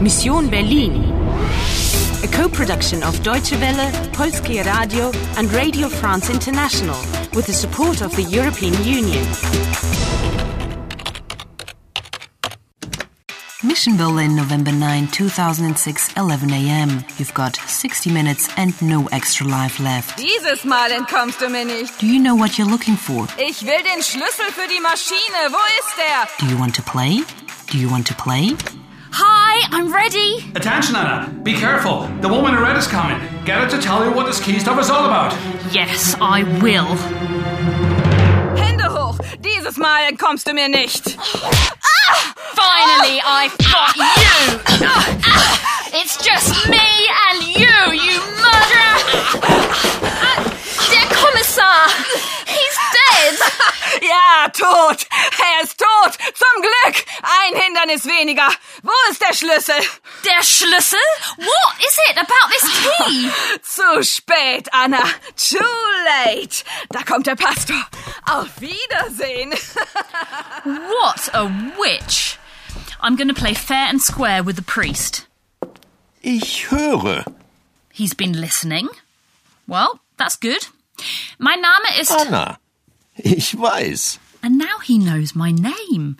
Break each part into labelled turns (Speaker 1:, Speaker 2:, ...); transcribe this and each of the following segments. Speaker 1: Mission Berlin. A co-production of Deutsche Welle, Polskie Radio and Radio France International with the support of the European Union.
Speaker 2: Mission Berlin, November 9, 2006, 11 a.m. You've got 60 minutes and no extra life left.
Speaker 3: Dieses Mal entkommst du mir nicht.
Speaker 2: Do you know what you're looking for?
Speaker 3: Ich will den Schlüssel für die Maschine. Wo ist der?
Speaker 2: Do you want to play? Do you want to play?
Speaker 4: Hi, I'm ready.
Speaker 5: Attention, Anna. Be careful. The woman in red is coming. Get her to tell you what this key stuff is all about.
Speaker 4: Yes, I will.
Speaker 3: Hände hoch. Dieses Mal entkommst du mir nicht.
Speaker 4: Finally, I got you. It's just me and you, you murderer. Der Kommissar, he's dead.
Speaker 3: Ja, tot. Er ist tot. Zum Glück. Ein Hindernis weniger. Wo ist der Schlüssel?
Speaker 4: Der Schlüssel? What is it about this key?
Speaker 3: Zu spät, Anna. Too late. Da kommt der Pastor. Auf Wiedersehen.
Speaker 4: What a witch. I'm going to play fair and square with the priest.
Speaker 6: Ich höre.
Speaker 4: He's been listening. Well, that's good. My Name ist.
Speaker 6: Anna. Ich weiß.
Speaker 4: And now he knows my name.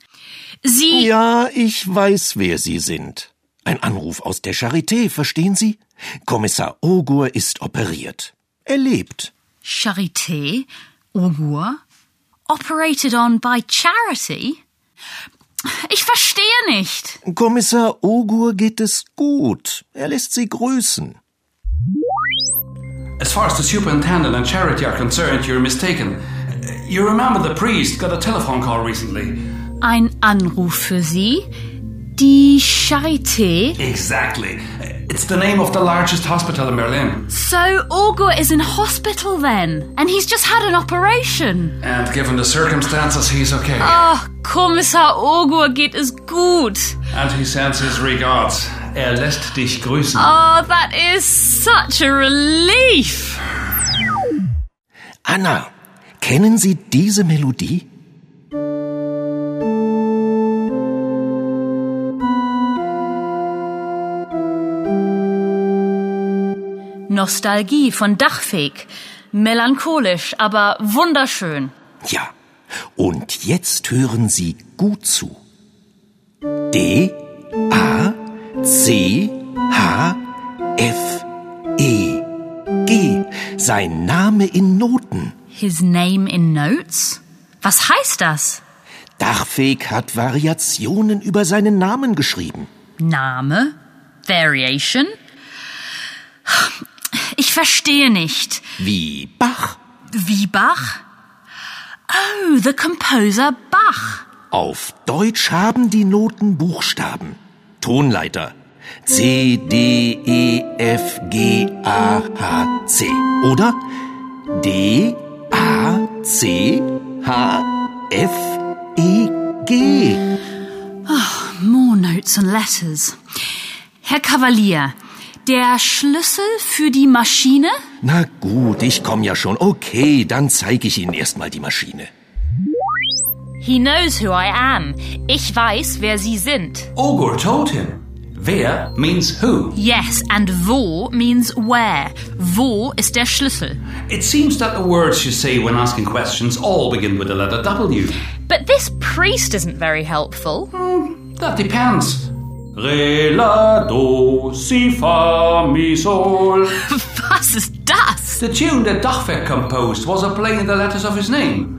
Speaker 4: Sie.
Speaker 6: Ja, ich weiß, wer Sie sind. Ein Anruf aus der Charité, verstehen Sie? Kommissar Ogur ist operiert. Er lebt.
Speaker 4: Charité, Ogur, operated on by charity? Ich verstehe nicht.
Speaker 6: Kommissar Ogur geht es gut. Er lässt Sie grüßen.
Speaker 5: As far as the superintendent and charity are concerned, you're mistaken. You remember the priest got a telephone call recently.
Speaker 4: Ein Anruf für Sie. Die Charité.
Speaker 5: Exactly. It's the name of the largest hospital in Berlin.
Speaker 4: So Ogur is in hospital then, and he's just had an operation.
Speaker 5: And given the circumstances, he's okay.
Speaker 4: Oh, Kommissar Ogur geht es gut.
Speaker 5: And he sends his regards. Er lässt dich grüßen.
Speaker 4: Oh, that is such a relief.
Speaker 6: Anna, kennen Sie diese Melodie?
Speaker 4: Nostalgie von Dachfeg. Melancholisch, aber wunderschön.
Speaker 6: Ja. Und jetzt hören Sie gut zu. D A C H F E G. Sein Name in Noten.
Speaker 4: His name in notes? Was heißt das?
Speaker 6: Dachfeg hat Variationen über seinen Namen geschrieben.
Speaker 4: Name? Variation? Ich verstehe nicht.
Speaker 6: Wie Bach.
Speaker 4: Wie Bach? Oh, the composer Bach.
Speaker 6: Auf Deutsch haben die Noten Buchstaben. Tonleiter. C, D, E, F, G, A, H, C. Oder? D, A, C, H, F, E, G.
Speaker 4: More notes and letters. Herr Kavalier, der Schlüssel für die Maschine?
Speaker 6: Na gut, ich komm ja schon. Okay, dann zeige ich Ihnen erstmal die Maschine.
Speaker 4: He knows who I am. Ich weiß, wer Sie sind.
Speaker 5: Ogur told him. Wer means who.
Speaker 4: Yes, and wo means where. Wo ist der Schlüssel.
Speaker 5: It seems that the words you say when asking questions all begin with the letter W.
Speaker 4: But this priest isn't very helpful.
Speaker 5: That depends. Re, la, do, si, fa, mi, sol.
Speaker 4: Was ist das?
Speaker 5: The tune that Dachweg composed was a play in the letters of his name.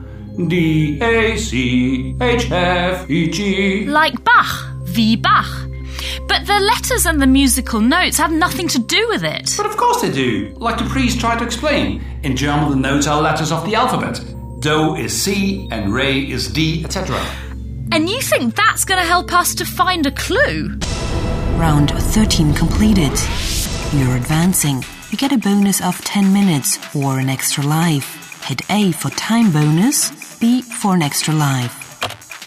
Speaker 5: D, A, C, H, F, E, G.
Speaker 4: Like Bach, wie Bach. But the letters and the musical notes have nothing to do with it.
Speaker 5: But of course they do, like the priest tried to explain. In German, the notes are letters of the alphabet. Do is C and Re is D, etc.
Speaker 4: And you think that's going to help us to find a clue?
Speaker 2: Round 13 completed. You're advancing. You get a bonus of 10 minutes or an extra life. Hit A for time bonus, B for an extra life.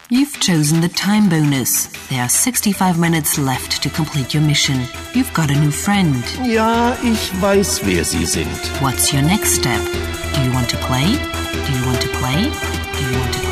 Speaker 2: You've chosen the time bonus. There are 65 minutes left to complete your mission. You've got a new friend.
Speaker 6: Ja, ich weiß, wer Sie sind.
Speaker 2: What's your next step? Do you want to play? Do you want to play? Do you want to